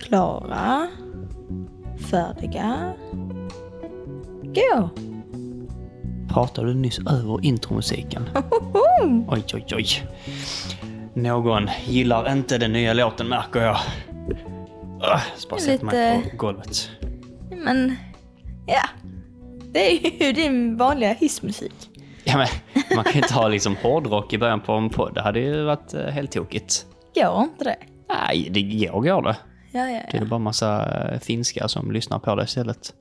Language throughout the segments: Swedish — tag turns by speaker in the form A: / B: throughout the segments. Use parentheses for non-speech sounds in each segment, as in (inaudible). A: klara, färdiga, gå! (laughs)
B: Pratade du nyss
A: (laughs)
B: över intromusiken? Oj, oj, oj. Någon gillar inte den nya låten märker jag. Ah, så bara
A: Det är
B: sätter mig
A: lite-
B: på golvet.
A: Men, ja. Det är ju din vanliga hissmusik.
B: Ja, men, man kan ju inte ha liksom hårdrock i början på en podd. Det hade ju varit eh, helt tokigt.
A: Går inte det?
B: Nej, det går, går det.
A: Ja, ja,
B: Det
A: ja.
B: är bara massa eh, finskar som lyssnar på det istället.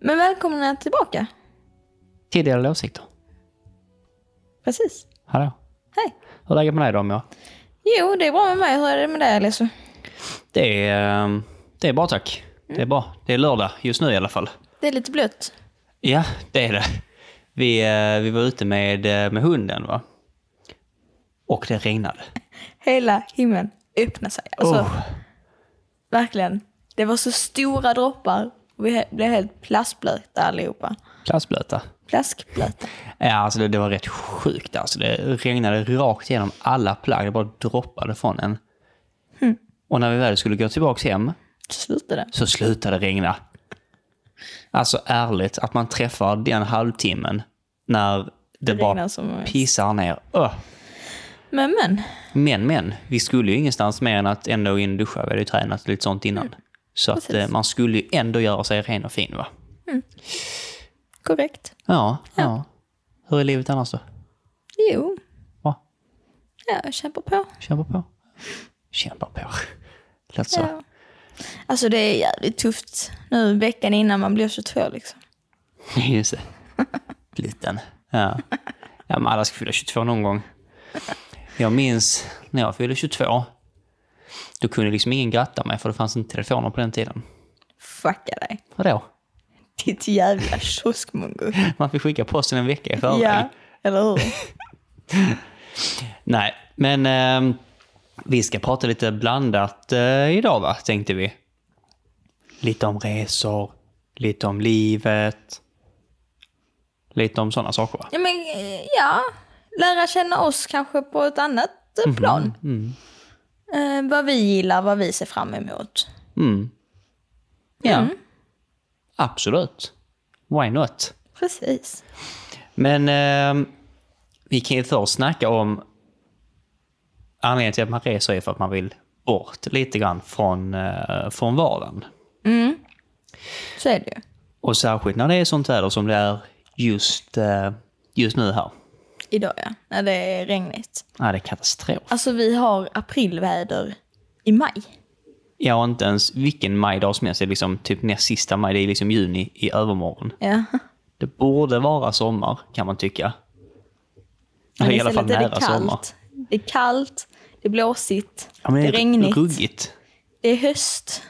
A: Men välkomna tillbaka.
B: Tidigare åsikter.
A: Precis.
B: Hallå.
A: Hej.
B: Hur är läget med dig då, Moa?
A: Jo, det är bra med mig. Hur är det med dig, Alesso?
B: Det är, eh, det är bra tack.
A: Mm.
B: Det är bra. Det är lördag just nu i alla fall.
A: Det är lite blött.
B: Ja, det är det. Vi, eh, vi var ute med, eh, med hunden va? Och det regnade.
A: Hela himlen öppnade sig. Alltså,
B: Oh.
A: verkligen. Det var så stora droppar. Vi he- blev helt plastblöta allihopa.
B: Plastblöta.
A: Plaskblöta.
B: Ja, alltså det, det var rätt sjukt. Alltså det regnade rakt igenom alla plagg. Det bara droppade från en.
A: Hm.
B: Och när vi väl skulle gå tillbaka hem
A: Slutade.
B: så slutade det regna. Alltså ärligt, att man träffar den halvtimmen när det,
A: regnar
B: bara
A: som-
B: pissar ner. Öh.
A: Men, men.
B: Men, men, vi skulle ju ingenstans mer än att ändå in och duscha. Vi hade ju tränat lite sånt innan. Så att
A: Mm. precis.
B: eh, man skulle ju ändå göra sig ren och fin va?
A: Korrekt.
B: Ja, ja. Hur är livet annars då?
A: Jo.
B: Va?
A: Ja, jag kämpar på.
B: Kämpar på? Kämpar på. Lät så.
A: Ja. Alltså det är jävligt tufft nu veckan innan man blir 22 liksom.
B: (laughs) Just det. Liten. Ja. ja, men alla ska fylla 22 någon gång. Jag minns när jag fyllde 22. Då kunde liksom ingen gratta mig för det fanns inte telefoner på den tiden.
A: Fucka dig.
B: Vadå?
A: Ditt jävla
B: (laughs)
A: kioskmongo.
B: Man fick skicka posten en vecka i förväg.
A: ja, eller hur?
B: Nej, men ehm, vi ska prata lite blandat eh, idag va, tänkte vi. Lite om resor, lite om livet. Lite om sådana saker va?
A: Ja, men eh, ja. Lära känna oss kanske på ett annat
B: Mhm,
A: eh, plan.
B: mm.
A: Eh, vad vi gillar, vad vi ser fram emot.
B: Mm. Ja. Absolut. Why not?
A: Precis.
B: Men ehm, vi kan ju först snacka om anledningen till att man reser är för att man vill bort lite grann från, eh, från vardagen.
A: Så är det ju.
B: Och särskilt när det är sånt väder som det är just, eh, just nu här.
A: Idag ja, när det är regnigt.
B: Nej, det är katastrof.
A: Alltså vi har aprilväder i maj.
B: Jag har inte ens vilken majdag som helst. Det är liksom typ näst sista maj. Det är liksom juni i övermorgon.
A: Ja.
B: Det borde vara sommar, kan man tycka.
A: Men
B: I alla fall
A: istället är det
B: nära
A: kallt.
B: sommar.
A: Det är kallt, det är blåsigt,
B: Ja, men
A: det är regnigt,
B: Ruggigt.
A: det är höst.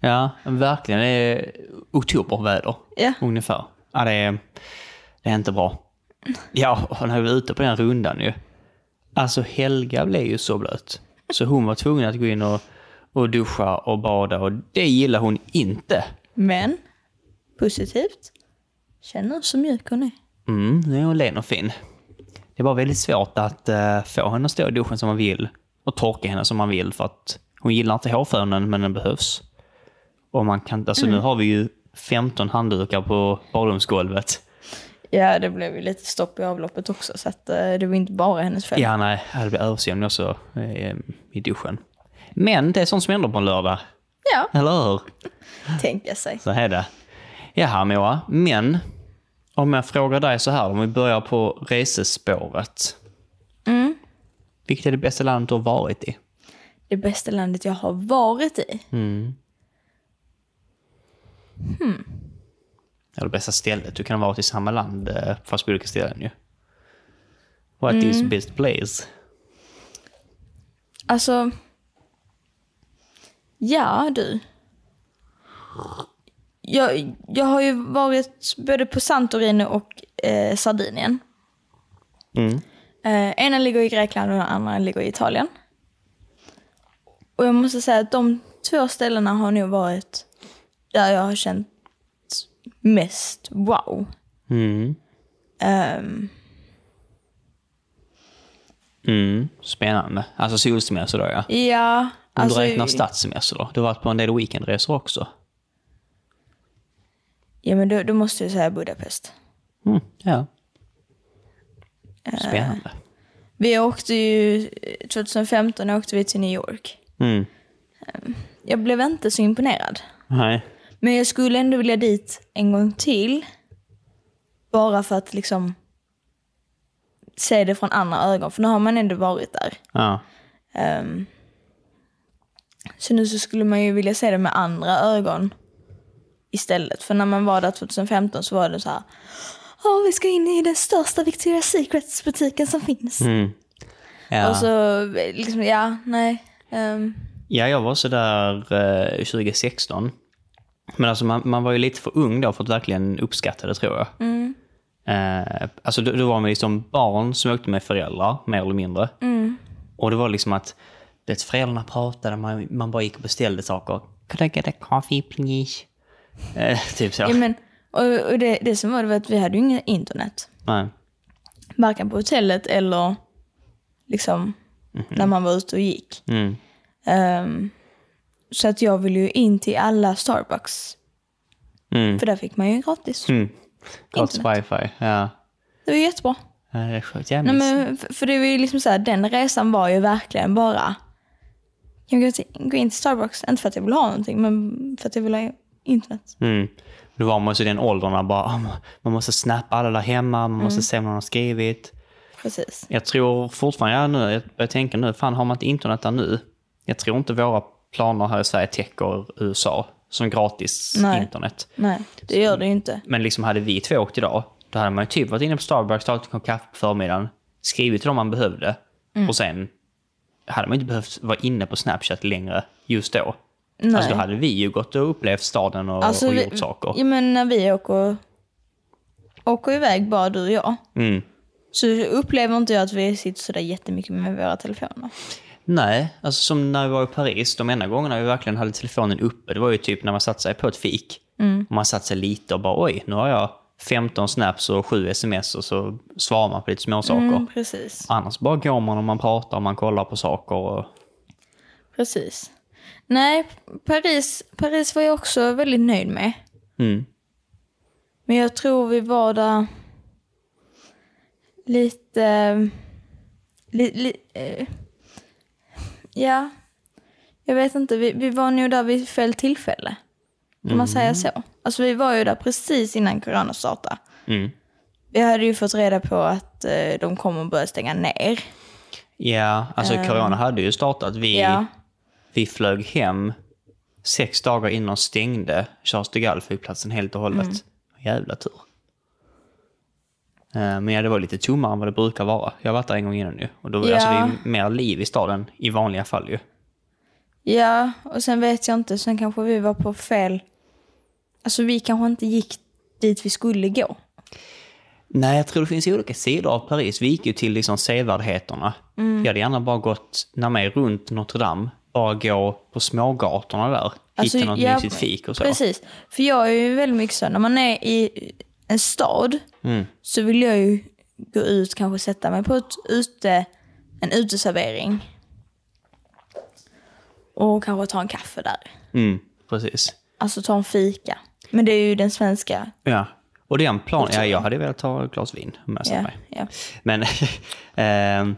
B: Ja, verkligen. Det är oktoberväder,
A: Ja.
B: ungefär. Ja, det är, det är inte bra. Ja, och när vi var ute på den rundan ju. Alltså Helga blev ju så blöt. Så hon var tvungen att gå in och, och duscha och bada och det gillar hon inte.
A: Men positivt, känner så mjuk hon är.
B: Mm, nu är hon len och fin. Det var väldigt svårt att eh, få henne att stå i duschen som man vill och torka henne som man vill för att hon gillar inte hårfönen men den behövs. Och man kan, alltså nu har vi ju 15 handdukar på badrumsgolvet.
A: Ja, det blev ju lite stopp i avloppet också så att, eh, det var inte bara hennes fel.
B: Ja, nej, det blir översvämning också eh, i duschen. Men det är sånt som händer på en lördag,
A: Ja,
B: eller hur?
A: tänka sig.
B: Så är det. Jaha Moa, men om jag frågar dig så här, om vi börjar på resespåret.
A: Mm.
B: Vilket är det bästa landet du har varit i?
A: Det bästa landet jag har varit i.
B: Eller bästa stället. Du kan ha varit i samma land eh, fast på olika ställen ju. What is best place?
A: Alltså, ja du. Jag, jag har ju varit både på Santorini och eh, Sardinien.
B: Mm.
A: Eh, ena ligger i Grekland och den andra ligger i Italien. Och jag måste säga att de två ställena har nog varit där jag har känt mest wow.
B: Mm.
A: Ehm,
B: Mm, spännande. Alltså solsemester då ja. alltså-
A: Ja,
B: Om du räknar stadssemester då? Du har varit på en del weekendresor också?
A: ja, men då, då måste jag säga Budapest.
B: Mm, ja. Spännande.
A: Vi åkte ju, 2015 åkte vi till New York.
B: Mm.
A: Jag blev inte så imponerad.
B: Nej.
A: Men jag skulle ändå vilja dit en gång till. Bara för att liksom se det från andra ögon. För nu har man ändå varit där.
B: Ja.
A: Ehm, så nu så skulle man ju vilja se det med andra ögon istället. För när man var där 2015 så var det så här. "Åh, vi ska in i den största Victoria's Secrets-butiken som finns.
B: Mm. Ja.
A: Och så liksom, ja, nej. Ehm,
B: ja, jag var så där eh, 2016. Men alltså man, man var ju lite för ung då för att verkligen uppskatta det tror jag.
A: Mm.
B: Eh, alltså då, då var man liksom barn som åkte med föräldrar, mer eller mindre.
A: Mm.
B: Och det var liksom att det föräldrarna pratade, man, man bara gick och beställde saker. Could I get a coffee please? Eh, (laughs) typ så.
A: ja, men, och, och det, det som var det var att vi hade ju inget internet.
B: Nej.
A: varken på hotellet eller liksom när man var ute och gick.
B: Mhm. Mm.
A: Ehm, så att jag ville ju in till alla Starbucks.
B: Mm.
A: För där fick man ju gratis.
B: Mm. Gratis wifi, ja.
A: Det var ju jättebra.
B: Ja, Det är sjukt. Jag
A: Nej,
B: minns.
A: men, f- för det var ju liksom så här, den resan var ju verkligen bara... Jag gå till- gå in till Starbucks, inte för att jag vill ha någonting, men för att jag vill ha internet.
B: Mm. Då var man ju i den åldern där bara, ah, man- man måste snappa alla där hemma, man
A: Mm.
B: måste se vad någon har skrivit.
A: Precis.
B: Jag tror fortfarande, ja, nu, jag börjar tänka nu, fan har man inte internet där nu? Jag tror inte våra planer här i Sverige täcker USA som gratis
A: Nej.
B: internet.
A: Nej, det gör det ju inte.
B: Men liksom hade vi två åkt idag, då hade man ju typ varit inne på Starbucks, tagit en kopp kaffe på förmiddagen, skrivit till dem man behövde
A: Mm.
B: och sen hade man inte behövt vara inne på Snapchat längre just då.
A: Nej.
B: Alltså då hade vi ju gått och upplevt staden och,
A: Alltså,
B: och
A: vi-
B: gjort saker.
A: Ja, men när vi åker, åker iväg, bara du och jag,
B: Mm.
A: Så upplever inte jag att vi sitter sådär jättemycket med våra telefoner.
B: Nej, alltså som när vi var i Paris, de enda gångerna vi verkligen hade telefonen uppe, det var ju typ när man satte sig på ett fik.
A: Mm.
B: Och man satte sig lite och bara oj, nu har jag 15 snaps och 7 sms och så svarar man på lite småsaker.
A: Mm, precis.
B: Annars bara går man och man pratar och man kollar på saker. Och...
A: precis. Nej, Paris, Paris var jag också väldigt nöjd med.
B: Mm.
A: Men jag tror vi var där lite... Li, li, eh, ja, jag vet inte. Vi, vi var nog där vid fel tillfälle. Kan man säga så? Alltså vi var ju där precis innan corona startade.
B: Mm.
A: Vi hade ju fått reda på att eh, de kommer börja stänga ner.
B: Ja, alltså corona hade ju startat. Vi,
A: Eh. Ja.
B: vi flög hem sex dagar innan de stängde Charles de Gaulle-flygplatsen helt och hållet.
A: Mm.
B: Jävla tur. Eh, Men ja, det var lite tommare än vad det brukar vara. Jag har varit där en gång innan nu. Och då var
A: Ja.
B: alltså, det är ju mer liv i staden i vanliga fall ju.
A: Ja, och sen vet jag inte, sen kanske vi var på fel... Alltså vi kanske inte gick dit vi skulle gå.
B: Nej, jag tror det finns olika sidor av Paris. Vi gick ju till liksom sevärdheterna.
A: Mm.
B: Jag hade gärna bara gått, när man är runt Notre Dame, bara gå på smågatorna där.
A: Alltså,
B: hitta något
A: ja,
B: mysigt fik och så.
A: Precis, för jag är ju väldigt mycket så, när man är i en stad
B: Mm.
A: så vill jag ju gå ut, kanske sätta mig på ett ute, en uteservering. Och kanske ta en kaffe där.
B: Mm, precis.
A: Alltså ta en fika. Men det är ju den svenska.
B: Ja. Och den planen, ja, jag hade velat ta ett glas vin om jag satt
A: Ja,
B: mig.
A: ja.
B: Men, (laughs) ehm,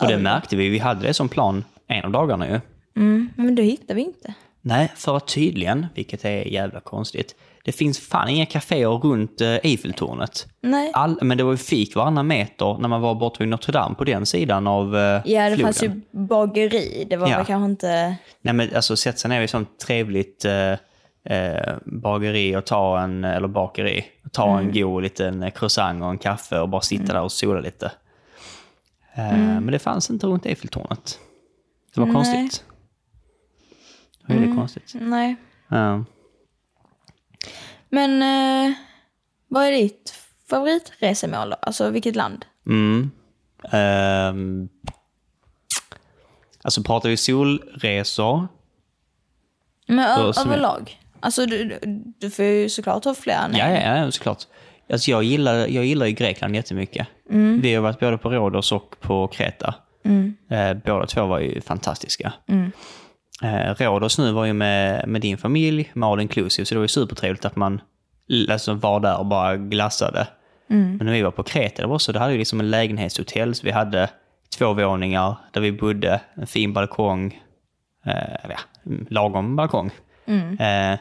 B: och det märkte vi, vi hade det som plan en av dagarna ju.
A: Men då hittar vi inte.
B: Nej, för att tydligen, vilket är jävla konstigt, det finns fan inga kaféer runt eh, Eiffeltornet.
A: Nej.
B: All, men det var ju fik varannan meter när man var borta vid Notre Dame på den sidan av eh,
A: Ja, det
B: floden.
A: fanns ju bageri. Det var
B: Ja.
A: väl kanske inte...
B: Nej men alltså sätta sig ner i ett sånt trevligt eh, eh, bageri och ta en, eller bakeri, och ta en god liten eh, croissant och en kaffe och bara sitta där och sola lite. Eh, Men det fanns inte runt Eiffeltornet. Det var konstigt. Det var väldigt konstigt.
A: Nej.
B: Ja.
A: Men eh, vad är ditt favoritresemål då? Alltså vilket land?
B: Mm. Ehm. alltså pratar vi solresor?
A: Men ö-
B: som jag-
A: överlag? Alltså du, du- du får ju såklart ha flera än en.
B: Ja, ja, ja såklart. Alltså jag, gillar, jag gillar ju Grekland jättemycket. Vi har varit både på Rhodos och på Kreta. Eh, båda två var ju fantastiska. Mm. Eh, råd oss nu var ju med, med din familj, med all inclusive, så det var ju supertrevligt att man l- alltså, var där och bara glassade. Men när vi var på Kreta, det var så, det hade ju liksom en lägenhetshotell, så vi hade två våningar där vi bodde, en fin balkong, eh, ja, lagom balkong.
A: Mm.
B: Eh,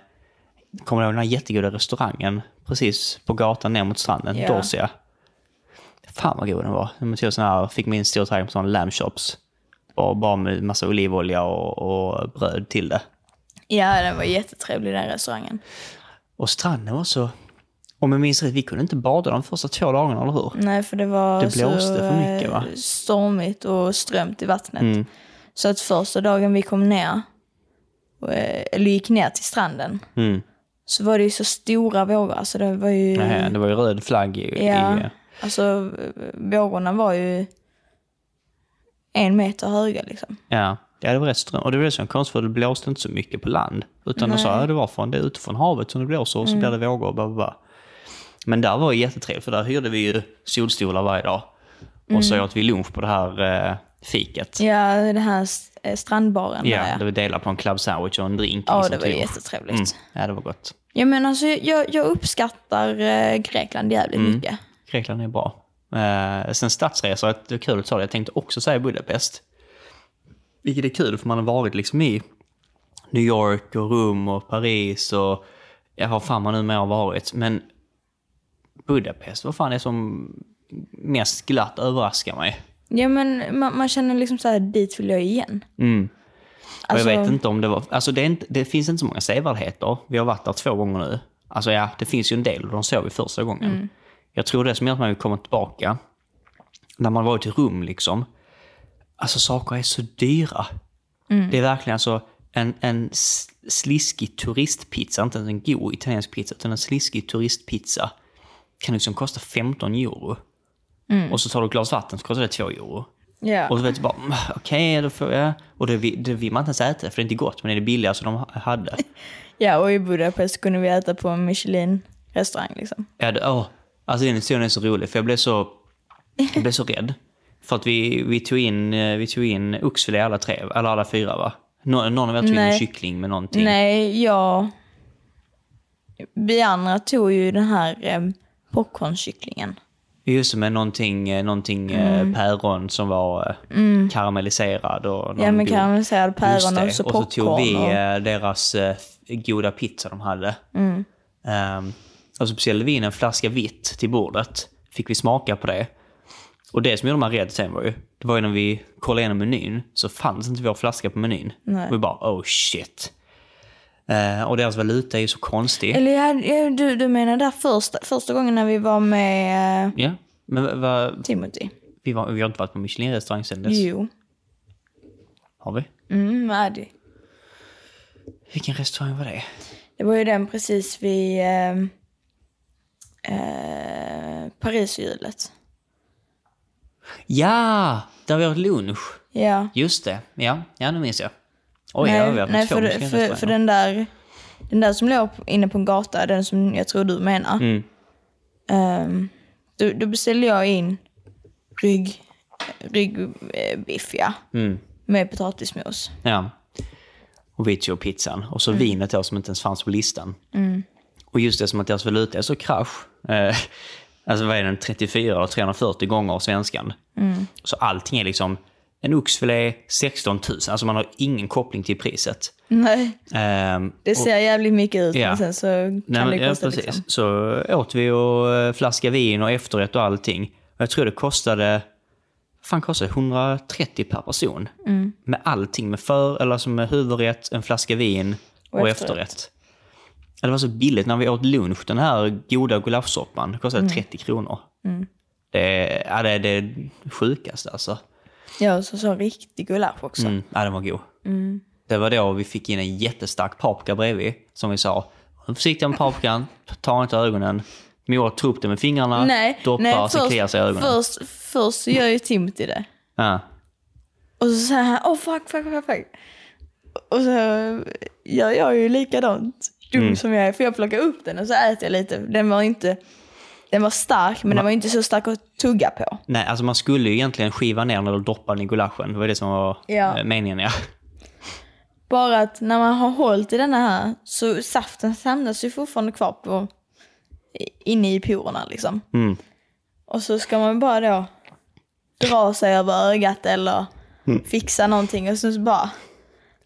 B: kommer du ihåg den här jättegoda restaurangen precis på gatan ner mot stranden?
A: Ja.
B: Dorsia. Fan vad god den var. De tog sån här, fick min stor tallrik med sån lamb chops. Och bara med massa olivolja och, och bröd till det.
A: Ja, den var jättetrevlig den restaurangen.
B: Och stranden var så... Om jag minns rätt, vi kunde inte bada de första två dagarna, eller hur?
A: Nej, för det var
B: Det blåste
A: så,
B: för mycket,
A: eh,
B: va? Mm.
A: stormigt och strömt i vattnet. Så att första dagen vi kom ner, och, eh, eller gick ner till stranden,
B: Mm.
A: så var det ju så stora vågor. Alltså det var ju...
B: Nej, det var ju röd flagg i...
A: ja,
B: i
A: alltså eh, vågorna var ju en meter höga liksom.
B: ja. ja, det var rätt ström. Och det var det som var konstigt, för det blåste inte så mycket på land. Utan de sa, ja, det var från, det är utifrån havet som det blåser och så blir det vågor och bla, bla, bla. Men där var det jättetrevligt, för där hyrde vi ju solstolar varje dag. Och så åt vi lunch på det här eh, fiket.
A: Ja, den här s- eh, strandbaren där
B: Ja, det var dela på en club sandwich och en drink.
A: Ja,
B: liksom,
A: det var
B: till lunch.
A: jättetrevligt.
B: Mm. Ja, det var gott.
A: Ja, men alltså, jag, jag uppskattar eh, Grekland jävligt
B: Mm.
A: mycket.
B: Grekland är bra. Eh, sen stadsresor, att det är kul att ta det. Jag tänkte också säga Budapest. Vilket är kul för man har varit liksom i New York och Rom och Paris och ja, vad fan man nu mer har varit. Men Budapest, vad fan är som mest glatt överraskar mig?
A: Ja, men man, man känner liksom så här, dit vill jag igen.
B: Mm. Och
A: Alltså-
B: jag vet inte om det var... Alltså det, är inte, det finns inte så många sevärdheter. Vi har varit där två gånger nu. Alltså ja, det finns ju en del och de såg vi första gången. Jag tror det som gör att man vill komma tillbaka, när man varit i rum liksom. Alltså saker är så dyra. Det är verkligen alltså en, en s- sliskig turistpizza, inte ens en god italiensk pizza, utan en sliskig turistpizza kan liksom kosta 15 euro. Och så tar du ett glas vatten så kostar det 2 euro.
A: Ja.
B: Och så vet du bara, "Mm, okej, då får jag... Och det, vi- det vill man inte ens äta, för det är inte gott, men det är det billigaste de ha- hade.
A: Ja, och i Budapest kunde vi äta på en Michelin-restaurang. Liksom.
B: Ja, det, åh, alltså den historien är så rolig, för jag blev så, jag blev så rädd. För att vi, vi tog in, eh, vi tog in oxfilé alla tre, eller alla fyra va? Nå, någon av er tog in en
A: Nej.
B: kyckling med någonting.
A: Nej, jag... Vi andra tog ju den här eh, popcornkycklingen.
B: Just det, med någonting, eh, någonting eh, päron som var eh, karamelliserad och någon
A: Mm. Ja, men
B: god-
A: karamelliserad
B: Just
A: päron
B: det.
A: och så
B: Och så tog vi
A: popcorn. Och...
B: eh, deras eh, f- goda pizza de hade.
A: Mm.
B: Ehm, och så beställde vi in en flaska vitt till bordet. Fick vi smaka på det. Och det som gjorde mig rädd sen var ju, det var ju när vi kollade igenom menyn så fanns inte vår flaska på menyn.
A: Nej.
B: Vi bara oh shit. Eh, och deras valuta är ju så konstig.
A: Eller ja, ja, du, du menar där första, första gången när vi var med eh,
B: ja, men va, va,
A: Timothy?
B: vi, var, vi har inte varit på Michelin-restaurang sen dess.
A: Jo.
B: Har vi?
A: Mm, med Addy.
B: Vilken restaurang var det?
A: Det var ju den precis vid eh, eh, Parishjulet.
B: Ja! Där vi åt lunch.
A: Ja.
B: Just det. Ja, ja nu minns jag. Oj, jag har
A: nej,
B: varit på
A: nej
B: två
A: för,
B: olika
A: för, för
B: restauranger.
A: den där den där som låg inne på en gata, den som jag tror du menar.
B: Mm.
A: ehm, då, då beställde jag in rygg, ryggbiff, ja.
B: Mm,
A: Med potatismos. (laughs)
B: ja. Och vi tog pizzan. Och
A: Mm.
B: så vinet då som inte ens fanns på listan. Och just det som att deras valuta är så krasch. Eh, alltså vad är den, 34 eller 340 gånger av svenskan.
A: Mm.
B: Så allting är liksom en oxfilé 16 000. Alltså man har ingen koppling till priset.
A: Nej,
B: Ehm,
A: det ser jävligt mycket ut,
B: Ja.
A: men sen så kan
B: Nej, men,
A: det
B: ja,
A: kosta
B: precis.
A: liksom.
B: Så åt vi och eh, flaska vin och efterrätt och allting. Och jag tror det kostade, vad fan kostade det? 130 per person.
A: Mm.
B: Med allting, med för, eller alltså med huvudrätt, en flaska vin och,
A: Och
B: efterrätt.
A: efterrätt.
B: Ja, Det var så billigt när vi åt lunch, den här goda gulaschsoppan, det
A: Mm.
B: kostade 30 kronor. Det, är- ja, det är det sjukaste alltså.
A: Ja, så, så riktig gulasch också.
B: Mm. Ja, den var god.
A: Mm.
B: Det var då vi fick in en jättestark paprika bredvid. Som vi sa, var försiktig med paprikan, ta inte ögonen. Moa tog upp det med fingrarna,
A: Nej,
B: droppar,
A: nej
B: sen kliar
A: först,
B: sig i ögonen.
A: först, först så gör ju Timothy det.
B: Ja.
A: Och så säger han åh fuck, fuck, fuck, fuck. Och så gör
B: Mm.
A: jag ju likadant dum som jag är. För jag plockar upp den och så äter jag lite. Den var inte Den var stark, men den var inte så stark att tugga på.
B: Nej, alltså man skulle ju egentligen skiva ner den eller doppa den i gulaschen. Det var det som var
A: Ja.
B: eh, meningen, ja.
A: Bara att när man har hållit i denna här så saften samlas ju fortfarande kvar på, i- inne i porerna liksom.
B: Mm.
A: Och så ska man bara då dra sig över ögat eller
B: Mm.
A: fixa någonting och sen så bara...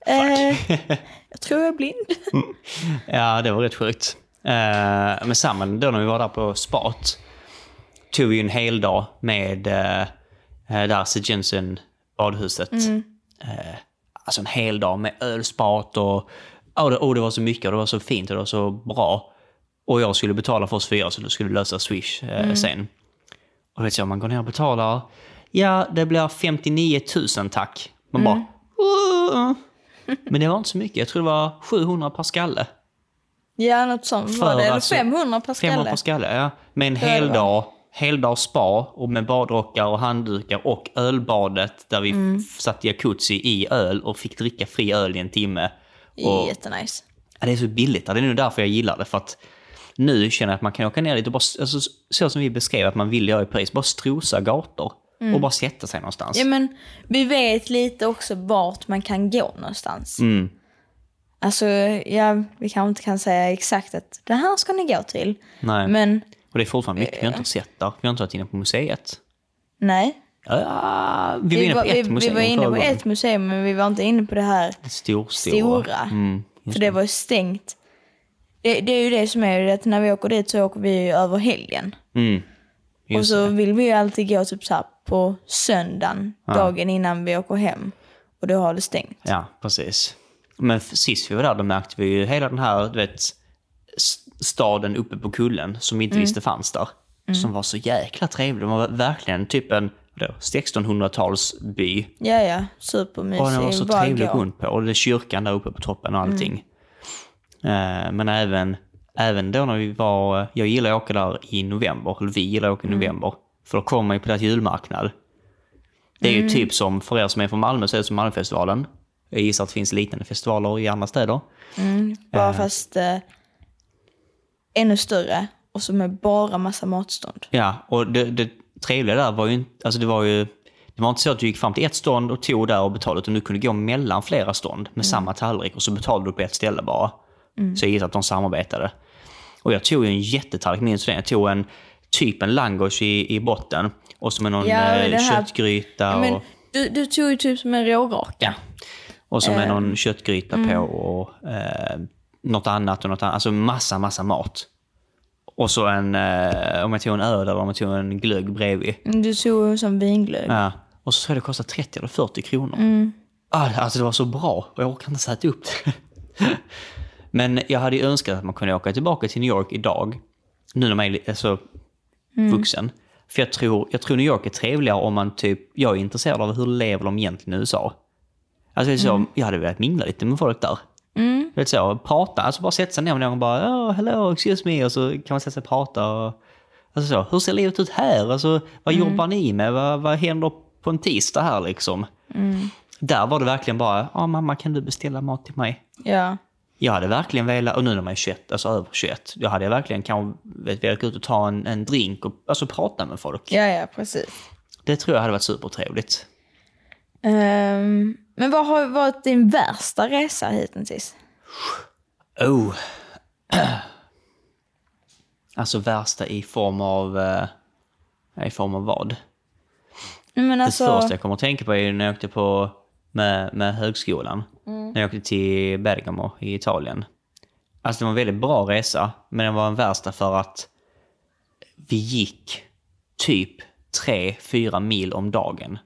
A: Eh,
B: (laughs)
A: jag tror jag är blind. (laughs)
B: Ja, det var rätt sjukt. Eh, men samma då när vi var där på spat. Tog vi ju en hel dag med eh, eh, där St. Jensen badhuset. Eh, alltså en hel dag med ölspat och oh, det, oh, det var så mycket och det var så fint och det var så bra. Och jag skulle betala för oss fyra så då skulle vi lösa Swish eh, sen. Och vet jag, man går ner och betalar. Ja, det blir 59 000 tack. Man bara... "Åh." Men det var inte så mycket. Jag tror det var 700 per skalle.
A: Ja, något sånt
B: För
A: var det. Eller
B: alltså-
A: 500 per
B: 500
A: skalle.
B: per skalle, ja. Med en
A: det
B: hel
A: var.
B: dag, hel dag spa och med badrockar och handdukar och ölbadet där vi
A: Mm.
B: f- satt jacuzzi i öl och fick dricka fri öl i en timme. Och,
A: Jättenice.
B: ja, det är så billigt. Ja, Det är nog därför jag gillar det. För att nu känner jag att man kan åka ner dit och bara, alltså, så som vi beskrev att man vill göra i Paris, bara strosa gator och bara sätta sig någonstans.
A: Mm. Ja, men vi vet lite också vart man kan gå någonstans.
B: Mm.
A: Alltså, ja, vi kanske inte kan säga exakt att det här ska ni gå till.
B: Nej.
A: Men
B: och det är fortfarande mycket vi har inte sett där. Vi har inte varit inne på museet.
A: nej.
B: Ja, vi var
A: Vi
B: inne på
A: var, vi,
B: ett
A: vi
B: museum
A: var inne
B: förra
A: på
B: gången.
A: ett museum, men vi var inte inne på det här
B: Det storstora.
A: stora.
B: Mm, just
A: För det var ju stängt. Det, det är ju det som är det att när vi åker dit så åker vi ju över helgen.
B: Mm.
A: och
B: Just
A: så vill vi ju alltid gå typ så här på söndagen, dagen innan vi åker hem. Och då har det stängt.
B: Ja, precis. Men f- sist vi var där då märkte vi ju hela den här du vet, s- staden uppe på kullen som vi inte visste fanns där. Som var så jäkla trevlig. Man var verkligen typ en vadå, 1600-talsby.
A: Ja, ja.
B: Och den var så
A: Supermysig. Bara
B: trevlig att gå
A: gå.
B: runt på. Och det är kyrkan där uppe på toppen och allting. Eh, men även, även då när vi var... Jag gillar att åka där i november. Eller vi gillar att åka i november. För då kommer man ju på deras julmarknad. Det är ju typ som, för er som är från Malmö så är det som Malmöfestivalen. Jag gissar att det finns liknande festivaler i andra städer.
A: Bara fast eh, ännu större. Och så med bara massa matstånd.
B: Ja, och det, det trevliga där var ju inte... Alltså det var ju... Det var inte så att du gick fram till ett stånd och tog där och betalade, utan du kunde gå mellan flera stånd
A: Mm.
B: med samma tallrik och så betalade du på ett ställe bara. Så jag gissar att de samarbetade. Och jag tog ju en jättetallrik, minns du det? Jag tog en typ en langosch i, i botten och så med någon
A: Ja, och
B: eh,
A: det här-
B: köttgryta
A: Men
B: och...
A: du, du tog ju typ som en rårak.
B: Ja. Och så med
A: eh,
B: någon köttgryta
A: mm.
B: på och eh, något annat och något annat. Alltså massa, massa mat. Och så en, eh, om jag tog en öl eller om jag tog en glögg bredvid.
A: Mm, Du tog ju som vinglögg.
B: Ja. Och så tror jag det kostade 30 eller 40 kronor. Ah, Alltså det var så bra och jag orkar inte sätta upp det. (laughs) Men jag hade ju önskat att man kunde åka tillbaka till New York idag. Nu när man är li- alltså, vuxen. För jag tror, jag tror New York är trevligare om man typ, jag är intresserad av hur lever de egentligen i USA. Alltså det är så, jag hade velat mingla lite med folk där. Mm. Vet så, prata, alltså bara sätta sig ner med någon och bara oh, hello, excuse me och så kan man sätta sig och prata. Och, alltså så, hur ser livet ut här? Alltså, vad jobbar ni med? Vad, vad händer på en tisdag här liksom? Där var det verkligen bara, ja mamma kan du beställa mat till mig?
A: Ja.
B: Jag hade verkligen velat, och nu när man är 21, alltså över 21, då hade jag verkligen kanske vet, velat gå ut och ta en, en drink och alltså, prata med folk.
A: ja, ja, precis.
B: Det tror jag hade varit supertrevligt.
A: Ehm, men vad har varit din värsta resa hittills?
B: Oh. (clears throat) Alltså värsta i form av... eh, I form av vad?
A: Nej, Men
B: Det
A: alltså,
B: första jag kommer att tänka på är ju när jag åkte på med, med högskolan. När jag åkte till Bergamo i Italien. Alltså det var en väldigt bra resa, men den var den värsta för att vi gick typ 3-4 mil om dagen.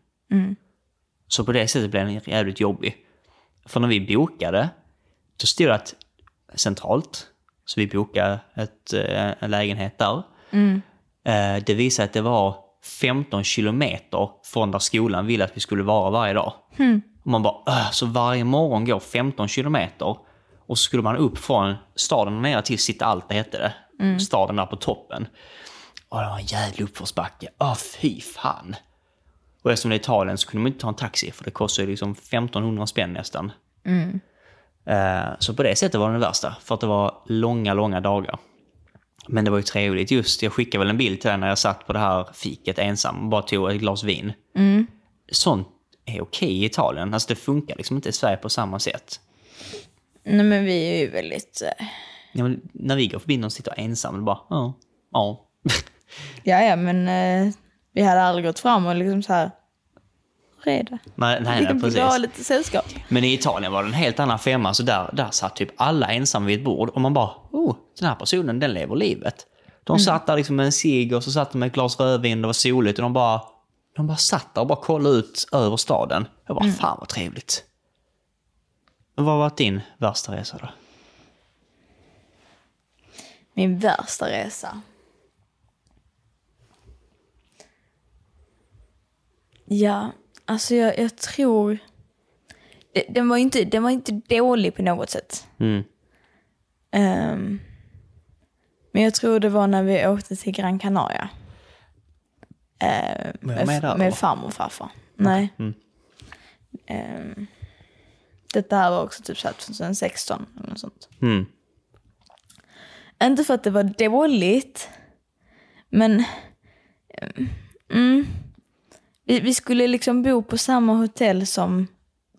B: Så på det sättet blev den jävligt jobbig. För när vi bokade, så stod det att centralt, så vi bokade ett, eh, en lägenhet där. Eh, Det visade att det var 15 kilometer från där skolan ville att vi skulle vara varje dag. Och man bara, "Åh, så varje morgon går 15 kilometer och så skulle man upp från staden ner till sitt allt, hette det. Staden där på toppen. Och det var en jävla uppförsbacke. Åh, fy fan. Och eftersom det är Italien så kunde man inte ta en taxi för det kostar ju liksom 1500 spänn nästan.
A: Mm,
B: Eh, Så på det sättet var det den värsta, för att det var långa, långa dagar. Men det var ju trevligt just. Jag skickade väl en bild till dig när jag satt på det här fiket ensam och bara tog ett glas vin.
A: mm.
B: Sånt är okej i Italien. Alltså det funkar liksom inte i Sverige på samma sätt.
A: Nej men vi är ju väldigt... eh,
B: Ja, men när vi går förbi någon sitter ensam och bara, ja, ja. (laughs)
A: Ja, ja men eh, vi hade aldrig gått fram och liksom så här... Hur är det?
B: nej, nej, nej,
A: Vi har
B: precis.
A: lite sällskap.
B: Men i Italien var det en helt annan femma. Så där, där satt typ alla ensamma vid ett bord. Och man bara, oh, den här personen, den lever livet. De satt där liksom med en cigg och så satt de med ett glas rödvin. Det var soligt och de bara, de bara satt där och bara kollade ut över staden. Jag bara, fan vad trevligt. Vad har varit din värsta resa då?
A: Min värsta resa. Ja, alltså jag, jag tror... Det- Den var, inte, den var inte dålig på något sätt.
B: Mm.
A: Ehm, men jag tror det var när vi åkte till Gran Canaria. Ehm,
B: Var jag med där, Mm. eller?
A: med farmor och farfar. Nej. Ehm, detta här var också typ så här 2016 eller något sånt.
B: Mm.
A: Inte för att det var dåligt, men... eh, Mm, vi, vi skulle liksom bo på samma hotell som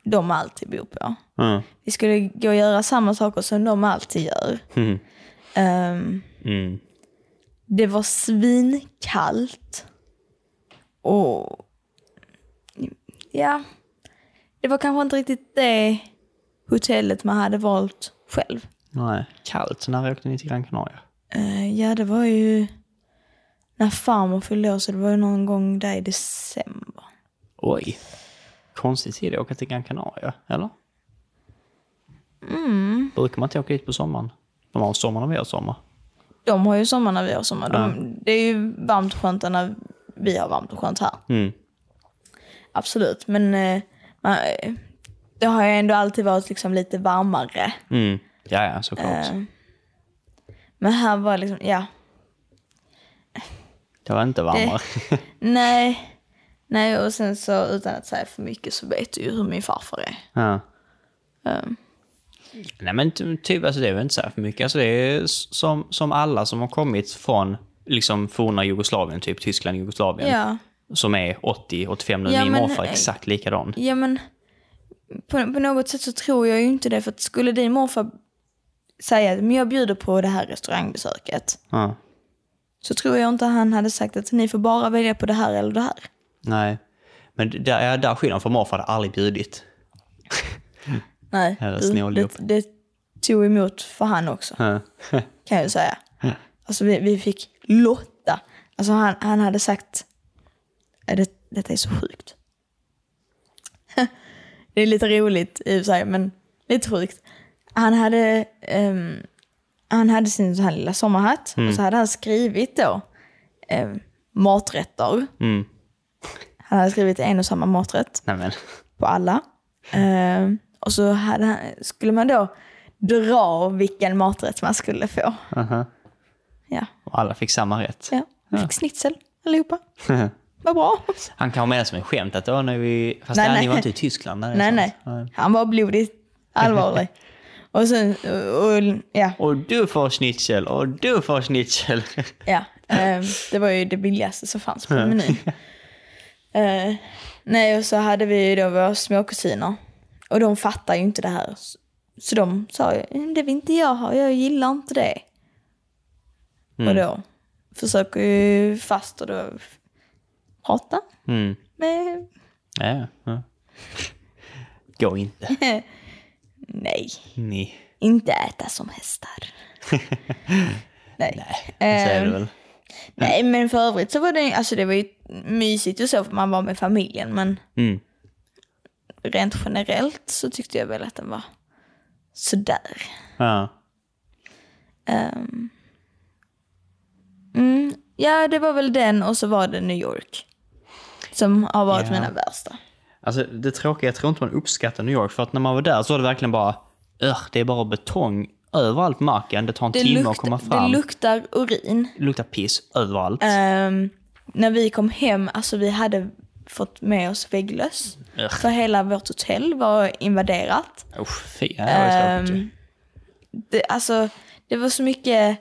A: de alltid bor på.
B: Mm.
A: Vi skulle gå och göra samma saker som de alltid gör.
B: Mm.
A: Ehm,
B: Mm.
A: det var svinkallt. Och... Ja. Det var kanske inte riktigt det hotellet man hade valt själv.
B: Nej, kallt. När åkte ni till Gran Canaria?
A: Eh, ja, det var ju när farmor fyllde år, så det var ju någon gång där i december.
B: Oj. Konstig tid att åka till Gran Canaria, eller? Mm. Brukar man inte åka dit på sommaren? De har sommar när vi har sommar.
A: De har ju sommar när vi har sommar. De, Det är ju varmt och skönt när vi har varmt och skönt här.
B: Mm.
A: Absolut, men eh, man, eh, det har ju ändå alltid varit liksom lite varmare.
B: Mm. Ja, ja, såklart.
A: Eh. Men här var liksom, ja,
B: det var inte
A: Eh.
B: varmare.
A: nej. Nej, och sen så utan att säga för mycket så vet du ju hur min farfar är.
B: (laughs) ja.
A: Eh.
B: Nej, men ty- typ, alltså, det är väl inte så här för mycket. Alltså, det är s- som, som alla som har kommit från liksom, forna Jugoslavien, typ Tyskland, Jugoslavien,
A: Ja.
B: som är 80-85 nu.
A: Ja,
B: Min
A: men- eh,
B: morfar är exakt likadan.
A: Ja men på, på något sätt så tror jag ju inte det för att skulle din morfar säga att "Men jag bjuder på det här restaurangbesöket
B: Ja.
A: så tror jag inte han hade sagt att ni får bara välja på det här eller det här.
B: Nej. Men d- där, ja, där skillnaden, för morfar hade aldrig bjudit.
A: Nej,
B: Här är
A: du,
B: snåljåp.
A: det, det tog emot för han också
B: Ja.
A: kan jag ju säga. Alltså vi, vi fick lotta. Alltså han, han hade sagt "Ja, det, detta är så sjukt. (laughs) det är lite roligt i och för sig men lite sjukt. Han hade, ehm, han hade sin så här lilla sommarhatt och så hade han skrivit då ehm, maträtter.
B: Mm.
A: Han hade skrivit en och samma maträtt
B: Nej, men.
A: på alla. Ehm, och så hade, han- skulle man då dra vilken maträtt man skulle få.
B: Aha.
A: Ja.
B: Och alla fick samma
A: (laughs)
B: rätt.
A: Ja, vi fick snitsel allihopa. Vad bra.
B: Han kan ha med det som en skämt att "Åh, när vi... Fast
A: Nej,
B: nej, ni
A: nej.
B: var inte i Tyskland. det är
A: Nej,
B: sant.
A: nej. Han var blodigt allvarlig. Och sen, och, och, ja,
B: Och du får schnitzel och du får schnitzel. (laughs)
A: ja. Eh, det var ju det billigaste som fanns på menyn. Eh, nej, och så hade vi ju då våra småkusiner. Och de fattar ju inte det här. Så de sa ju, "Mm, det vill inte jag ha, jag gillar inte det. Och då försöker ju fast och då prata
B: Mm.
A: med,
B: Ja, ja. Gå inte.
A: (laughs) nej.
B: Ni.
A: Inte äta som
B: (laughs)
A: hästar. Nej.
B: Det säger du
A: Ehm,
B: väl?
A: nej, men för övrigt så var det, alltså det var ju mysigt och så för man var med familjen men
B: Mm.
A: rent generellt så tyckte jag väl att den var sådär.
B: Ja.
A: Ehm. mm, ja, det var väl den och så var det New York. Som har varit
B: Ja.
A: mina värsta.
B: Alltså det tråkiga, jag tror inte man uppskattar New York. För att när man var där så var det verkligen bara, "Ugh, det är bara betong överallt på marken. Det tar en
A: Det,
B: timme att
A: lukt-
B: komma
A: det
B: fram. Det
A: luktar urin.
B: luktar piss överallt.
A: Ehm, när vi kom hem, alltså vi hade fått med oss vägglöss.
B: Ugh.
A: För hela vårt hotell var invaderat. Ehm.
B: Usch, fy. Ja, det var tråkigt ju.
A: det, alltså, det var så mycket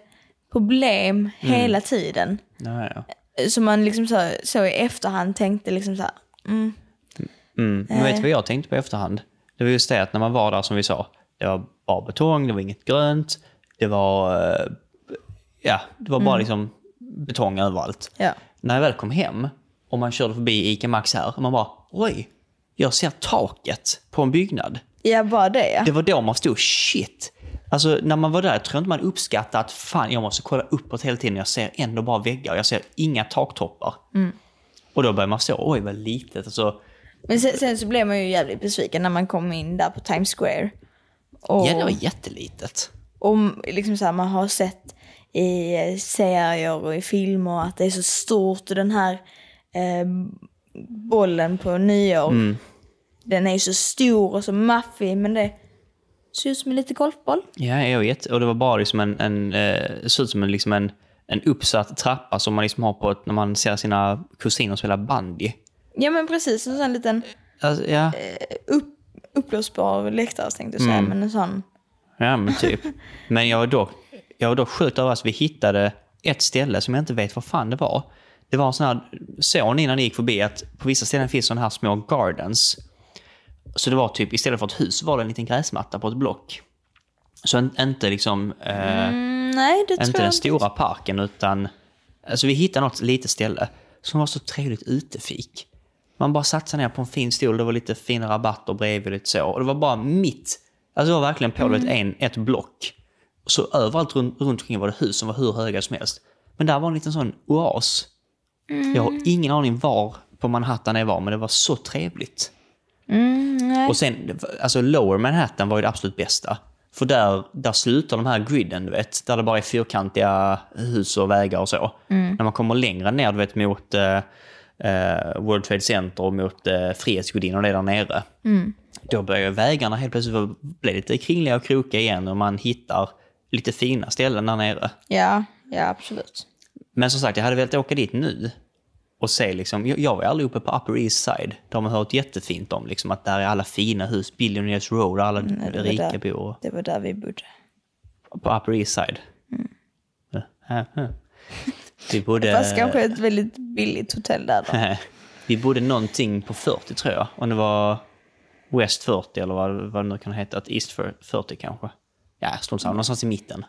A: problem
B: Mm.
A: hela tiden.
B: Ja, ja.
A: Så man liksom så, så i efterhand tänkte liksom så här, mm,
B: Mm. Men vet du vad jag tänkte på i efterhand? Det var just det att när man var där som vi sa, det var bara betong, det var inget grönt, det var, eh, ja, det var bara liksom betong överallt.
A: Ja.
B: När jag väl kom hem och man körde förbi ICA Max här och man bara, oj, jag ser taket på en byggnad.
A: ja bara det ja.
B: Det var då man förstod, shit. Alltså när man var där, jag tror inte man uppskattade att fan, jag måste kolla uppåt hela tiden. Jag ser ändå bara väggar och jag ser inga taktoppar. Och då började man förstå, oj vad litet. Alltså,
A: Men sen, sen så blev man ju jävligt besviken när man kom in där på Times Square. Och,
B: Ja, det var jättelitet.
A: och liksom så här, man har sett i eh, serier och i filmer att det är så stort och den här eh, bollen på nyår.
B: Mm.
A: Den är ju så stor och så maffig men det ser ut som en liten golfboll.
B: Ja, jag vet. Och det var bara liksom en, en, eh, det såg ut som en, liksom en, en uppsatt trappa som man liksom har på ett, när man ser sina kusiner spela bandy.
A: Ja men precis, en sån liten
B: Alltså, ja,
A: upp, uppblåsbar läktare tänkte jag säga.
B: Mm.
A: Men en sån.
B: ja, men typ. Men jag var dock, jag var dock sjukt överraskad. Vi hittade ett ställe som jag inte vet vad fan det var. Det var en sån här, såg ni när ni gick förbi att på vissa ställen finns sådana här små gardens. Så det var typ, istället för ett hus var det en liten gräsmatta på ett block. Så en, inte liksom... Eh,
A: Mm, nej det
B: Inte
A: tror jag
B: den stora parken utan... Alltså vi hittade något litet ställe som var så trevligt utefik. Man bara satte sig ner på en fin stol, det var lite fina rabatter bredvid och lite så. Och det var bara mitt. Alltså det var verkligen på mm. en, ett block. Så överallt runt, runt omkring var det hus som var hur höga som helst. Men där var en liten sån oas. Jag
A: Mm.
B: har ingen aning var på Manhattan det var, men det var så trevligt.
A: Mm, nej.
B: Och sen, alltså lower Manhattan var ju det absolut bästa. För där, där slutar de här griden, du vet. Där det bara är fyrkantiga hus och vägar och så. När man kommer längre ner, du vet, mot eh, eh, World Trade Center och mot eh, Frihetsgudinnan och det där nere. Då börjar vägarna helt plötsligt vara- bli lite kringliga och krokiga igen och man hittar lite fina ställen där nere.
A: Ja, ja absolut.
B: Men som sagt, jag hade velat åka dit nu och se liksom, jag, jag var aldrig uppe på Upper East Side. De har hört jättefint om liksom att där är alla fina hus, Billionaires Road, alla
A: Mm, det var
B: rika
A: där.
B: bor
A: Det var där vi bodde.
B: på Upper East Side. Mm. Vi
A: Fast
B: bodde,
A: kanske ett väldigt billigt hotell där
B: (laughs)
A: då.
B: vi bodde någonting på 40 tror jag, om det var West 40 eller vad, vad det nu kan heta, att East 40 kanske. Ja, strunt samma, någonstans i mitten.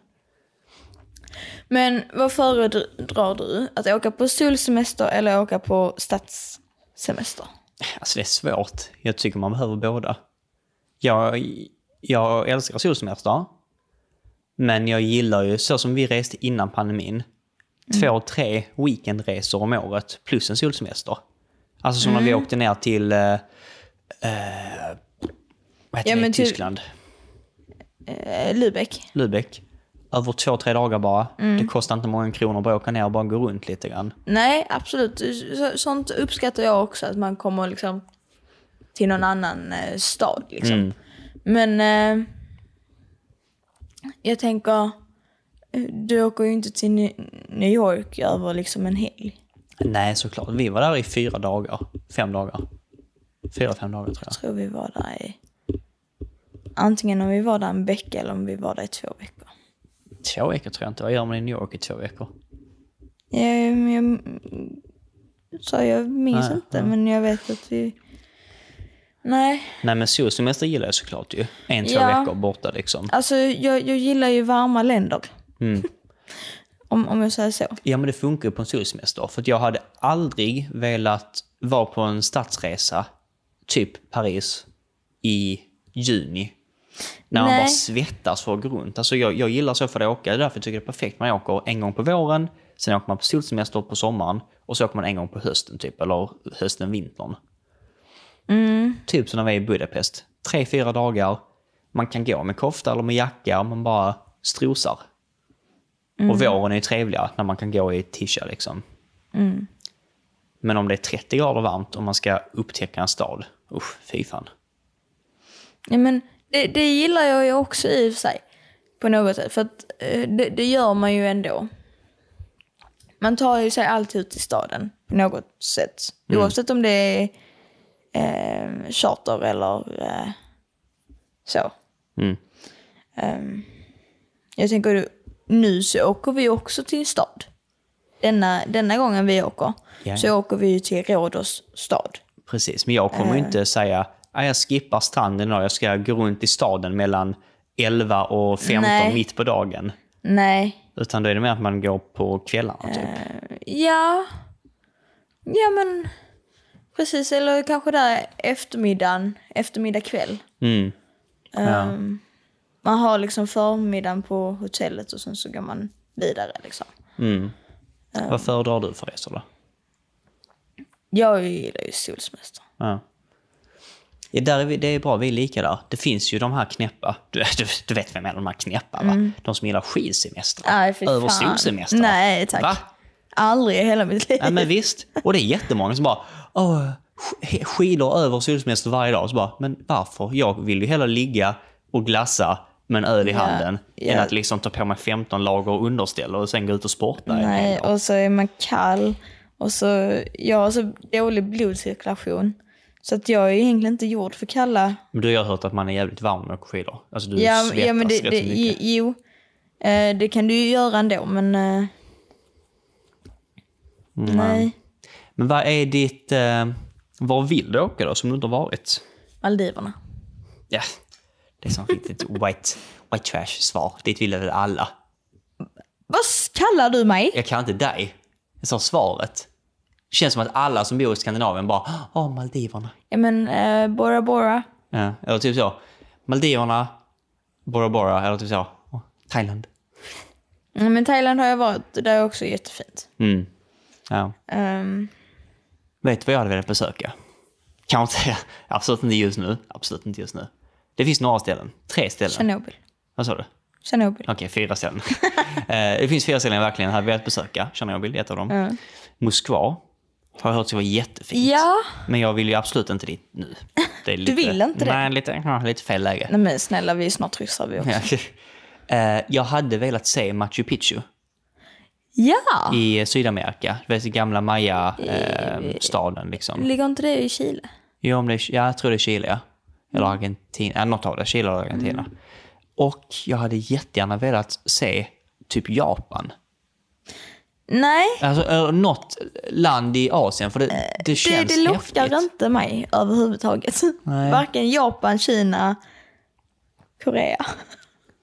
A: Men vad föredrar du? Att åka på solsemester eller åka på stadssemester?
B: Alltså det är svårt. Jag tycker man behöver båda. Jag, jag älskar solsemester. Men jag gillar ju, så som vi reste innan pandemin,
A: Mm.
B: två, tre weekendresor om året plus en solsemester. Alltså som
A: Mm.
B: när vi åkte ner till, eh, eh, vad heter
A: Ja, men
B: det,
A: typ-
B: i
A: till-
B: Tyskland?
A: Eh, Lübeck.
B: Lübeck. Över två, tre dagar bara.
A: Mm.
B: Det kostar inte många kronor att bara åka ner och bara gå runt lite grann.
A: Nej, absolut. Så, sånt uppskattar jag också, att man kommer liksom till någon annan eh, stad. Liksom.
B: Mm.
A: Men eh, jag tänker, eh, du åker ju inte till Ny- New York över liksom en helg.
B: Nej, såklart. Vi var där i fyra dagar. Fem dagar. Fyra, fem dagar tror jag.
A: Jag tror vi var där i... Antingen om vi var där en vecka eller om vi var där i två veckor.
B: Två veckor tror jag inte. Vad gör man i New York i två veckor?
A: Jag, Eh, jag, så jag minns
B: Nej,
A: inte, men jag vet att vi... Nej,
B: Nej men solsemester gillar jag såklart ju. En, två
A: Ja.
B: veckor borta liksom.
A: alltså jag, jag gillar ju varma länder. (laughs) om, om jag säger så.
B: Ja men det funkar ju på en solsemester. För att jag hade aldrig velat vara på en stadsresa, typ Paris, i juni. När man
A: Nej.
B: bara svettas för att gå runt. Alltså jag, jag gillar så för att åka. Det är därför jag tycker det är perfekt. Man åker en gång på våren, sen åker man på solsemester på sommaren och så åker man en gång på hösten typ. Eller hösten, vintern. Typ som när vi är i Budapest. Tre, fyra dagar. Man kan gå med kofta eller med jacka. Man bara strosar. Och våren är ju trevligare när man kan gå i tisha liksom. Men om det är 30 grader varmt och man ska upptäcka en stad. Usch, fy fan.
A: Ja, men det, det gillar jag ju också i och för sig. På något sätt. För att eh, det, det gör man ju ändå. Man tar ju sig alltid ut till staden på något sätt.
B: Mm.
A: Oavsett om det är eh, charter eller eh, så.
B: Mm.
A: Ehm, jag tänker nu så åker vi också till en stad. Denna, denna gången vi åker
B: Ja.
A: så åker vi ju till Rhodos stad.
B: Precis, men jag kommer
A: Eh.
B: ju inte säga "Ah, jag skippar stranden idag, jag ska gå runt i staden mellan 11 och 15
A: Nej.
B: mitt på dagen.
A: Nej,
B: Utan då är det mer att man går på kvällarna typ.
A: Ja. Ja men precis, eller kanske där eftermiddagen, eftermiddag kväll.
B: Mm.
A: Ehm, man har liksom förmiddagen på hotellet och sen så går man vidare liksom.
B: Mm.
A: eh.
B: Vad föredrar du för resor då?
A: Jag gillar ju solsemester.
B: Ja. Ja, där är vi, det är bra, vi är lika där. Det finns ju de här knäppa, du, du, du vet vem är de här knäppa va? De som gillar skidsemestrar.
A: Nej, Mm. fy
B: över
A: fan.
B: solsemestrar.
A: Nej, tack.
B: Va?
A: Aldrig i hela mitt liv.
B: Ja, men visst. Och det är jättemånga som bara Åh, sk- skidor över solsemester varje dag. Så bara, men varför? Jag vill ju hellre ligga och glassa med en öl i
A: Ja,
B: handen
A: ja.
B: än att liksom ta på mig 15 lager underställ och sen gå ut och sporta. en hel
A: Nej,
B: dag.
A: och så är man kall. Och så, jag har så dålig blodcirkulation. Så att jag är egentligen inte gjord för kalla
B: Men du har hört att man är jävligt varm när man åker skidor. Alltså du
A: Ja,
B: svettas
A: ja men det,
B: rätt
A: det,
B: så mycket.
A: jo, jo. Eh, det kan du ju göra ändå men... eh, Nej.
B: Mm, Men vad är ditt... Eh, var vill du åka då som du inte har varit?
A: Maldiverna.
B: Ja, det är som riktigt white, white trash-svar. Dit vill väl alla.
A: Vad s- kallar du mig?
B: jag kan inte dig. Jag sa svaret. Det känns som att alla som bor i Skandinavien bara, åh Maldiverna.
A: Ja men eh, Bora Bora.
B: Ja, eller typ så. Maldiverna, Bora Bora, eller typ så. "Åh, Thailand.
A: Ja, men Thailand har jag varit, det är också jättefint.
B: Mm. Ja.
A: Ehm,
B: Vet du vad jag hade velat besöka? Kanske inte, (laughs) absolut inte just nu. Absolut inte just nu. Det finns några ställen. Tre ställen.
A: Tjernobyl.
B: Vad sa du?
A: Tjernobyl.
B: Okej, fyra ställen. (laughs) Eh, det finns fyra ställen jag verkligen hade velat besöka. Tjernobyl är ett av dem. Moskva har jag hört ska vara jättefint.
A: Ja.
B: Men jag vill ju absolut inte dit nu. Det är lite,
A: vill inte det?
B: Nej, lite, ja, lite fel läge.
A: Nej men snälla vi är snart ryssar vi också.
B: (laughs) Ja. Eh, jag hade velat se Machu Picchu
A: Ja!
B: i Sydamerika. Du vet, gamla Maya-staden. liksom.
A: Ligger inte det i Chile?
B: Ja, om det är, ja, jag tror det är Chile, ja. Eller
A: Mm.
B: Argentina. Ja, något av det. Chile eller Argentina. Och jag hade jättegärna velat se typ Japan.
A: Nej,
B: Alltså eh, något land i Asien, för det, det
A: Eh, det,
B: känns
A: det lockar
B: häftigt.
A: inte mig överhuvudtaget. Varken Japan, Kina, Korea.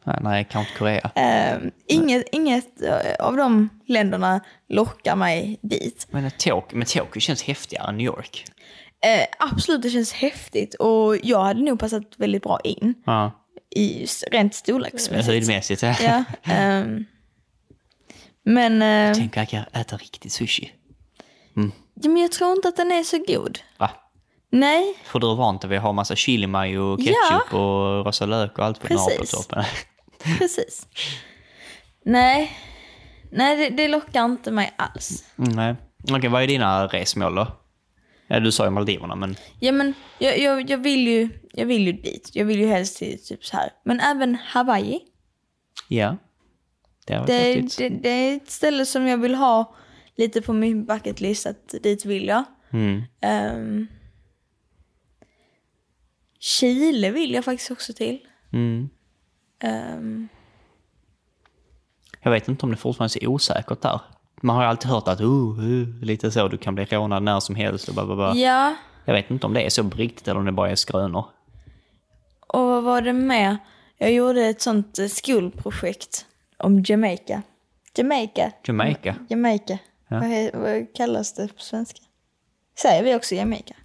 B: Nej, nej, kanske inte Korea.
A: Ehm, inget, inget eh, av de länderna lockar mig dit.
B: Men Tokyo, men Tokyo känns häftigare än New York.
A: Eh, absolut, det känns häftigt och jag hade nog passat väldigt bra in
B: Ja.
A: i s- rent storleksmässigt.
B: Höjdmässigt. Ja. (laughs)
A: Ja, ehm, men, eh,
B: Tänk att jag äter riktig sushi.
A: ja, men jag tror inte att den är så god.
B: Va?
A: Nej,
B: För du är van vid att ha massa chili mayo, ketchup och rosa lök och allt vad du har på
A: Precis.
B: toppen.
A: precis. Nej, Nej det, det lockar inte mig alls.
B: (laughs) Mm, nej. Okej, vad är dina resmål då? Ja, du sa ju Maldiverna, men
A: Ja, men jag, jag, jag, vill ju, jag vill ju dit. Jag vill ju helst till typ så här. Men även Hawaii.
B: ja. Det har varit häftigt.
A: Det, det, det är ett ställe som jag vill ha lite på min bucket list, att dit vill jag.
B: Mm.
A: Ehm, Chile vill jag faktiskt också till.
B: Mm.
A: Ehm,
B: Jag vet inte om det fortfarande är så osäkert där. Man har ju alltid hört att uh, uh, lite så, du kan bli rånad när som helst och bla, bla, bla.
A: ja,
B: Jag vet inte om det är så på riktigt eller om det bara är skrönor.
A: och vad var det med? Jag gjorde ett sånt eh, skolprojekt om Jamaica. Jamaica.
B: Jamaica.
A: Jamaica. Vad, he- vad kallas det på svenska? Säger vi också Jamaica?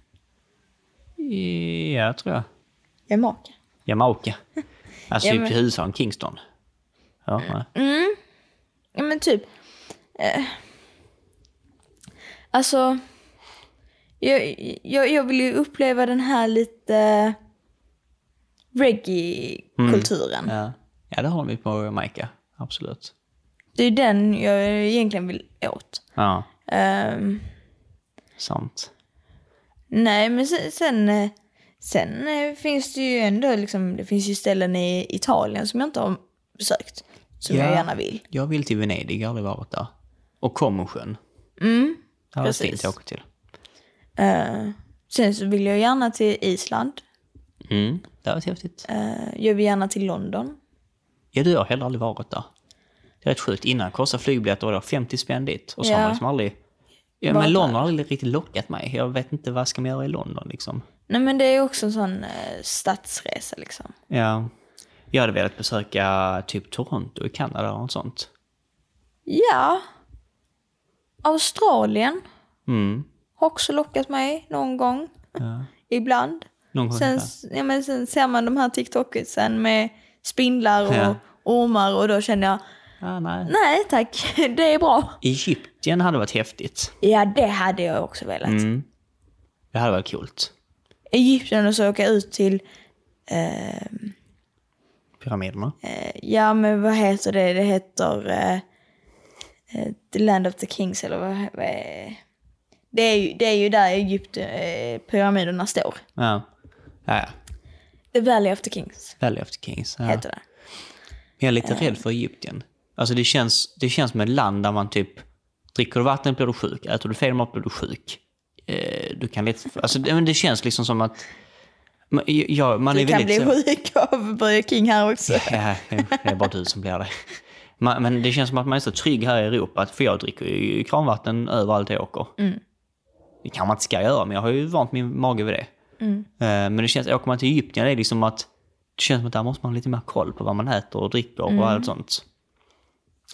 A: Mm.
B: Ja, tror jag.
A: Jamaica.
B: Jamaica. Alltså
A: Ja,
B: typ
A: men- Mm.
B: huvudstaden Kingston. Ja, nej.
A: Ja men typ. Eh, alltså. Jag, jag, jag vill ju uppleva den här lite reggae-kulturen.
B: Ja. ja, det har vi på Jamaica. Absolut.
A: Det är den jag egentligen vill åt.
B: Ja,
A: Ehm,
B: sant.
A: nej men sen, sen, eh, sen eh, finns det ju ändå liksom, det finns ju ställen i Italien som jag inte har besökt. Som
B: Ja.
A: jag gärna vill.
B: Jag vill till Venedig, jag har aldrig varit där. Och Comosjön.
A: Mm.
B: Det var
A: Precis.
B: fint att åka till.
A: Eh, sen så vill jag gärna till Island.
B: Mm, det var häftigt.
A: Eh, jag vill gärna till London.
B: Ja, du har heller aldrig varit där. Det är rätt sjukt. Innan kostade flygbiljetter var det 50 spänn dit. Och så har
A: Ja.
B: man liksom aldrig... Ja,
A: Bara-
B: men London har aldrig riktigt lockat mig. Jag vet inte vad ska man göra i London liksom.
A: Nej men det är ju också en sån eh, stadsresa liksom.
B: Ja. Jag hade velat besöka typ Toronto i Kanada eller något sånt.
A: Ja. Australien
B: Mm.
A: har också lockat mig någon gång.
B: Ja.
A: (laughs) Ibland.
B: Någon gång
A: Sen,
B: där.
A: ja, men sen ser man de här TikToksen med spindlar och
B: Ja.
A: ormar och då känner jag,
B: Ah, nej.
A: nej tack, (laughs) det är bra.
B: Egypten hade varit häftigt.
A: Ja, det hade jag också velat.
B: Mm. Det hade varit coolt.
A: Egypten och så åka ut till,
B: Pyramiderna.
A: eh, ja men vad heter det, det heter eh, eh, The Land of the Kings eller vad, vad är det? Är ju, det är ju där Egypten, eh, pyramiderna står.
B: Ja. Ja, ja.
A: The Valley of the Kings
B: Valley of the Kings. Ja.
A: heter det.
B: Men Jag är
A: eh.
B: lite rädd för Egypten. Alltså det känns, det känns som ett land där man typ dricker du vatten blir du sjuk, äter du fel mat blir du sjuk. Eh, Du kan lite, alltså det, men det känns liksom som att man, ja, man är
A: Du kan
B: väldigt...
A: bli
B: så-
A: sjuk (laughs) av Burger King här också.
B: Ja, det är bara du som blir det. Man, men det känns som att man är så trygg här i Europa, för jag dricker ju kranvatten överallt jag åker. Det kanske man inte ska göra, men jag har ju vant min mage vid det. Eh, Men det känns, åker man till Egypten, det är liksom att det känns som att där måste man ha lite mer koll på vad man äter och dricker och allt sånt.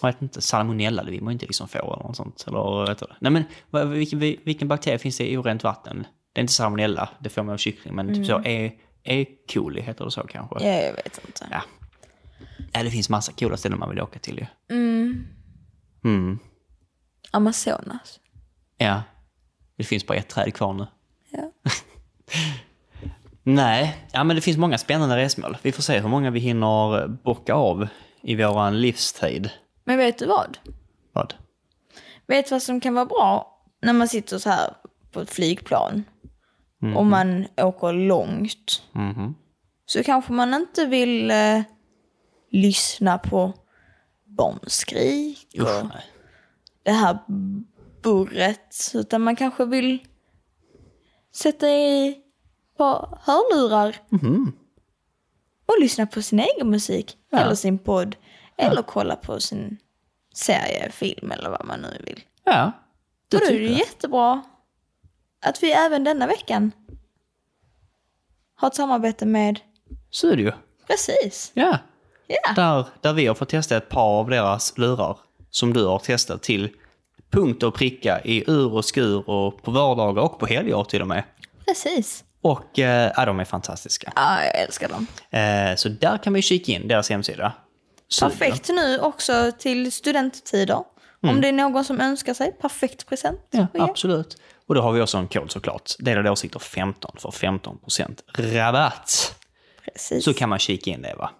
B: Jag vet inte, salmonella det vill man ju inte liksom få eller något sånt. Eller, vet du. Nej men vad- vilken, vilken bakterie finns det i orent vatten? Det är inte salmonella, det får man av kyckling, men typ så, E. E. coli heter det så kanske?
A: Ja, jag vet inte.
B: Ja. ja, det finns massa coola ställen man vill åka till ju.
A: Mm.
B: Mm.
A: Amazonas.
B: Ja. Det finns bara ett träd kvar nu.
A: Ja.
B: (laughs) Nej, ja, men det finns många spännande resmål. Vi får se hur många vi hinner bocka av i våran livstid.
A: Men vet du vad?
B: Vad?
A: Vet du vad som kan vara bra när man sitter så här på ett flygplan
B: Mm.
A: och man åker långt?
B: Mhm.
A: Så kanske man inte vill eh, lyssna på bombskrik
B: Usch,
A: och
B: nej.
A: det här burret. Utan man kanske vill sätta i på hörlurar
B: Mhm.
A: och lyssna på sin egen musik
B: Ja.
A: eller sin podd eller kolla på sin serie, film eller vad man nu vill.
B: Ja, det
A: Och då är
B: tycker
A: det
B: jag.
A: jättebra att vi även denna veckan har ett samarbete med...
B: Så är det ju.
A: Precis.
B: Ja.
A: Ja.
B: Där, där vi har fått testa ett par av deras lurar som du har testat till punkt och pricka i ur och skur och på vardagar och på helger till och med.
A: Precis.
B: Och eh, ja, de är fantastiska.
A: Ja, jag älskar dem.
B: Eh, så där kan man ju kika in deras hemsida. Super.
A: Perfekt nu också till studenttider. Om det är någon som önskar sig, perfekt present.
B: Mm. Ja,
A: att ge.
B: absolut. Och då har vi också en kod såklart. Delade åsikter 15 för 15 rabatt.
A: Precis.
B: Så kan man kika in det va.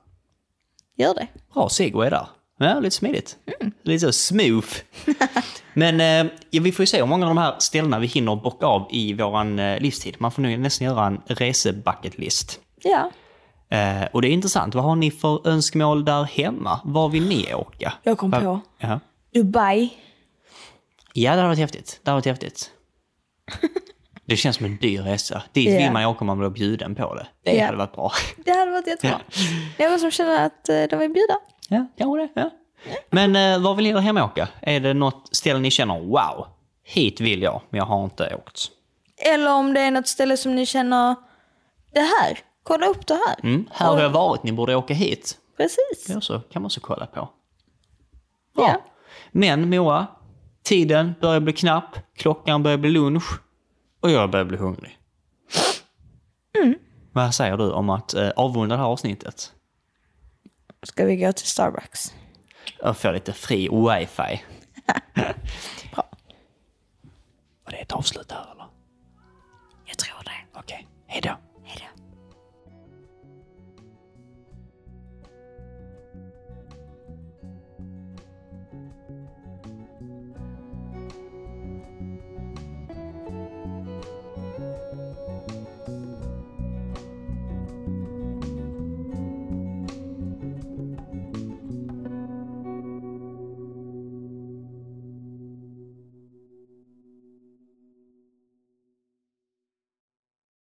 A: Gör det.
B: Bra segway där. Ja, lite smidigt. Lite så (laughs) smooth. Men eh, ja, vi får ju se hur många av de här ställena vi hinner bocka av i våran eh, livstid. Man får nog nästan göra en resebucketlist.
A: Ja.
B: Eh, och det är intressant. Vad har ni för önskemål där hemma? Var vill ni åka?
A: Jag kom
B: Va-
A: på.
B: Ja.
A: Dubai.
B: Ja, det hade varit häftigt. Det hade varit (laughs) häftigt. Det känns som en dyr resa. Dit
A: Ja.
B: vill man ju åka om man blir bjuden på det. Det
A: Ja.
B: hade varit bra.
A: Det hade varit jättebra. Någon som känner att eh, de vill bjuda?
B: (laughs) Ja, kanske det. Ja. Men eh, var vill ni där hemma åka? Är det något ställe ni känner, wow, hit vill jag, men jag har inte åkt?
A: Eller om det är något ställe som ni känner, det här, kolla upp det här.
B: Mm, här har jag varit, ni borde åka hit.
A: Precis.
B: Ja, så kan man också kolla på.
A: Ja.
B: Men Moa, tiden börjar bli knapp, klockan börjar bli lunch och jag börjar bli hungrig. Vad säger du om att eh, avrunda det här avsnittet?
A: Ska vi gå till Starbucks?
B: Jag får lite fri wifi.
A: Bra.
B: Var det ett avslut här eller?